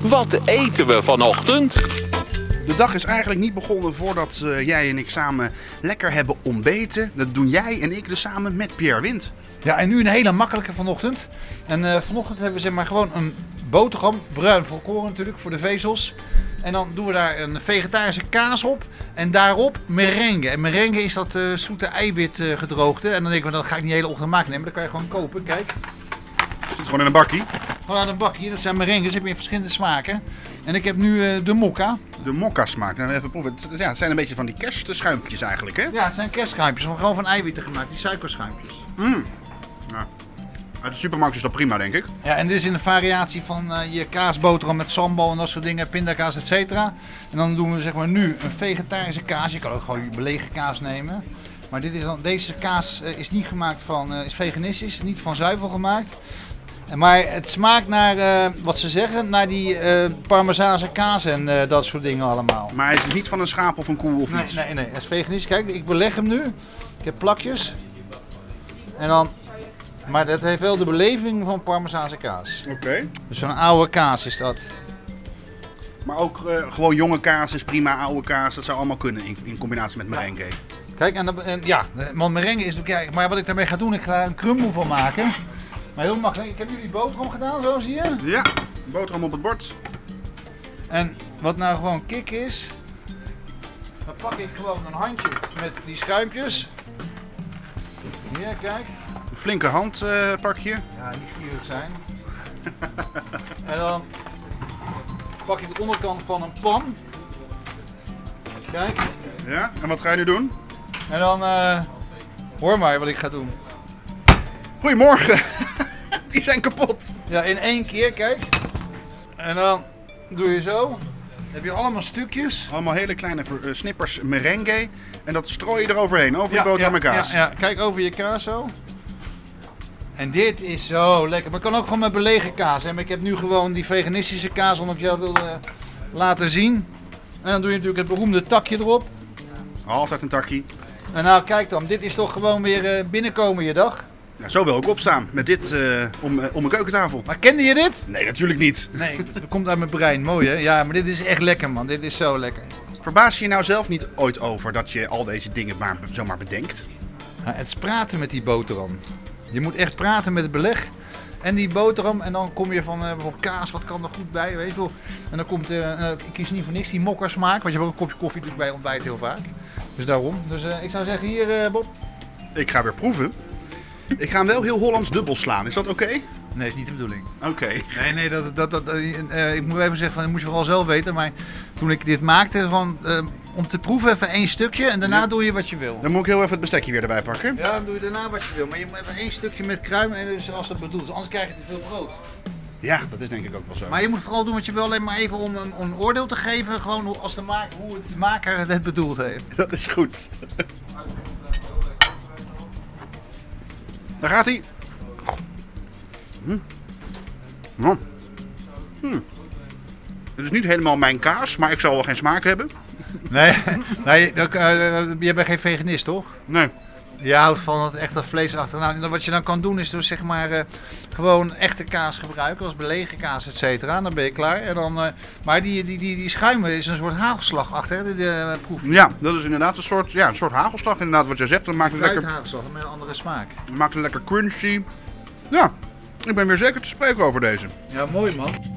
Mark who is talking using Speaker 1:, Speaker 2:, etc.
Speaker 1: Wat eten we vanochtend?
Speaker 2: De dag is eigenlijk niet begonnen voordat eh, jij en ik samen lekker hebben ontbeten. Dat doen jij en ik dus samen met Pierre Wind.
Speaker 3: Ja, en nu een hele makkelijke vanochtend. En eh, vanochtend hebben we zeg maar gewoon een boterham, bruin volkoren natuurlijk, voor de vezels. En dan doen we daar een vegetarische kaas op en daarop merengue. En merengue is dat eh, zoete eiwit eh, gedroogde. En dan denken we, dat ga ik niet de hele ochtend maken. Nee, maar dat kan je gewoon kopen, kijk.
Speaker 2: Zit gewoon in een bakkie.
Speaker 3: Gewoon aan een bakje, dat zijn merengues, heb je in verschillende smaken. En ik heb nu eh, de mokka.
Speaker 2: De mokka smaak. Nou, even proeven. Het- Ja, het zijn een beetje van die kerstschuimpjes eigenlijk, hè?
Speaker 3: Ja, het zijn kerstschuimpjes, maar gewoon van eiwitten gemaakt, die suikerschuimpjes.
Speaker 2: Uit de supermarkt is dat prima, denk ik.
Speaker 3: Ja, en dit is in een variatie van eh, je kaasboterham met sambal en dat soort dingen, pindakaas, et cetera. En dan doen we zeg maar nu een vegetarische kaas. Je kan ook gewoon je belegen kaas nemen. Maar dit is dan, deze kaas eh, is niet gemaakt van, eh, is veganistisch, niet van zuivel gemaakt. En Maar het smaakt naar, eh, wat ze zeggen, naar die eh parmezaanse kaas en eh, dat soort dingen allemaal.
Speaker 2: Maar hij is niet van een schaap of een koe of
Speaker 3: Nee,
Speaker 2: iets.
Speaker 3: nee, nee. Hij is veganistisch. Kijk, ik beleg hem nu. Ik heb plakjes. En dan... Maar dat heeft wel de beleving van parmezaanse kaas.
Speaker 2: Oké.
Speaker 3: Dus zo'n oude kaas is dat.
Speaker 2: Maar ook eh, gewoon jonge kaas is prima, oude kaas. Dat zou allemaal kunnen in, in combinatie met merengue.
Speaker 3: Kijk, en, dat- en ja, want merengue is natuurlijk... ja, maar wat ik daarmee ga doen, ik ga er een crumble van maken. Maar heel makkelijk. Ik heb jullie boterham gedaan, zo zie je.
Speaker 2: Ja, boterham op het bord.
Speaker 3: En wat nou gewoon kick is... Dan pak ik gewoon een handje met die schuimpjes. Hier, kijk.
Speaker 2: Een flinke hand eh, pak je.
Speaker 3: Ja, niet gierig zijn. en dan pak ik de onderkant van een pan. Kijk.
Speaker 2: Ja, en wat ga je nu doen?
Speaker 3: En dan eh, hoor maar wat ik ga doen.
Speaker 2: Goedemorgen. die zijn kapot.
Speaker 3: Ja, in één keer, kijk. En dan doe je zo. Dan heb je allemaal stukjes.
Speaker 2: Allemaal hele kleine ver- eh, snippers merengue. En dat strooi je eroverheen, over je
Speaker 3: Ja,
Speaker 2: boterham
Speaker 3: ja,
Speaker 2: en kaas.
Speaker 3: Ja, ja. kijk over je kaas zo. En dit is zo lekker. Maar het kan ook gewoon met belegen kaas. Hè? Maar ik heb nu gewoon die veganistische kaas, omdat ik jou wilde eh, laten zien. En dan doe je natuurlijk het beroemde takje erop.
Speaker 2: Altijd een takkie.
Speaker 3: En nou, kijk dan, dit is toch gewoon weer eh, binnenkomen je dag.
Speaker 2: Ja, zo wil ik opstaan met dit eh, om, eh, om mijn keukentafel.
Speaker 3: Maar kende je dit?
Speaker 2: Nee, natuurlijk niet.
Speaker 3: Nee, dat komt uit mijn brein. Mooi hè? Ja, maar dit is echt lekker man. Dit is zo lekker.
Speaker 2: Verbaas je je nou zelf niet ooit over dat je al deze dingen maar be- zomaar bedenkt?
Speaker 3: Ja, Nou, het is praten met die boterham. Je moet echt praten met het beleg en die boterham. En dan kom je van eh, bijvoorbeeld kaas, wat kan er goed bij, weet je wel. En dan komt, eh, eh, ik kies niet voor niks, die mokkersmaak. Want je hebt ook een kopje koffie natuurlijk bij ontbijt heel vaak. Dus daarom. Dus eh, ik zou zeggen, hier eh, Bob.
Speaker 2: Ik ga weer proeven. Ik ga hem wel heel Hollands dubbel slaan. Is dat oké?
Speaker 3: Nee, is niet de bedoeling.
Speaker 2: Oké.
Speaker 3: Nee, nee, dat, dat, dat, eh, eh, ik moet even zeggen, van, dat moet je vooral zelf weten. Maar toen ik dit maakte, gewoon, eh, om te proeven even één stukje en daarna doe je wat je wil.
Speaker 2: Dan moet ik heel even het bestekje weer erbij pakken.
Speaker 3: Ja, dan doe je daarna wat je wil. Maar je moet even één stukje met kruim en dat is als dat bedoeld is. Anders krijg je te veel brood.
Speaker 2: Ja, dat is denk ik ook wel zo.
Speaker 3: Maar je moet vooral doen wat je wil, alleen maar even om een, om een oordeel te geven. Gewoon hoe- als de maker, hoe het- de maker het bedoeld heeft.
Speaker 2: Dat is goed. Daar gaat hij. Hm. Hm. Hm. Het is niet helemaal mijn kaas, maar ik zal wel geen smaak hebben.
Speaker 3: Nee, nee eh, je bent geen veganist toch?
Speaker 2: Nee.
Speaker 3: Je houdt van het echte vlees achter. Nou, dan- wat je dan kan doen is dus zeg maar eh, gewoon echte kaas gebruiken, als belegen kaas, et cetera. Dan ben je klaar. En dan, eh, maar die, die, die, die schuim is een soort hagelslag achter, hè, de, de proef.
Speaker 2: Ja, dat is inderdaad een soort, ja, een soort hagelslag, inderdaad, wat jij zegt. Dat maakt het, lekker,
Speaker 3: Fruithagelslag met een andere smaak.
Speaker 2: maakt het lekker crunchy. Ja, ik ben weer zeker te spreken over deze.
Speaker 3: Ja, mooi man.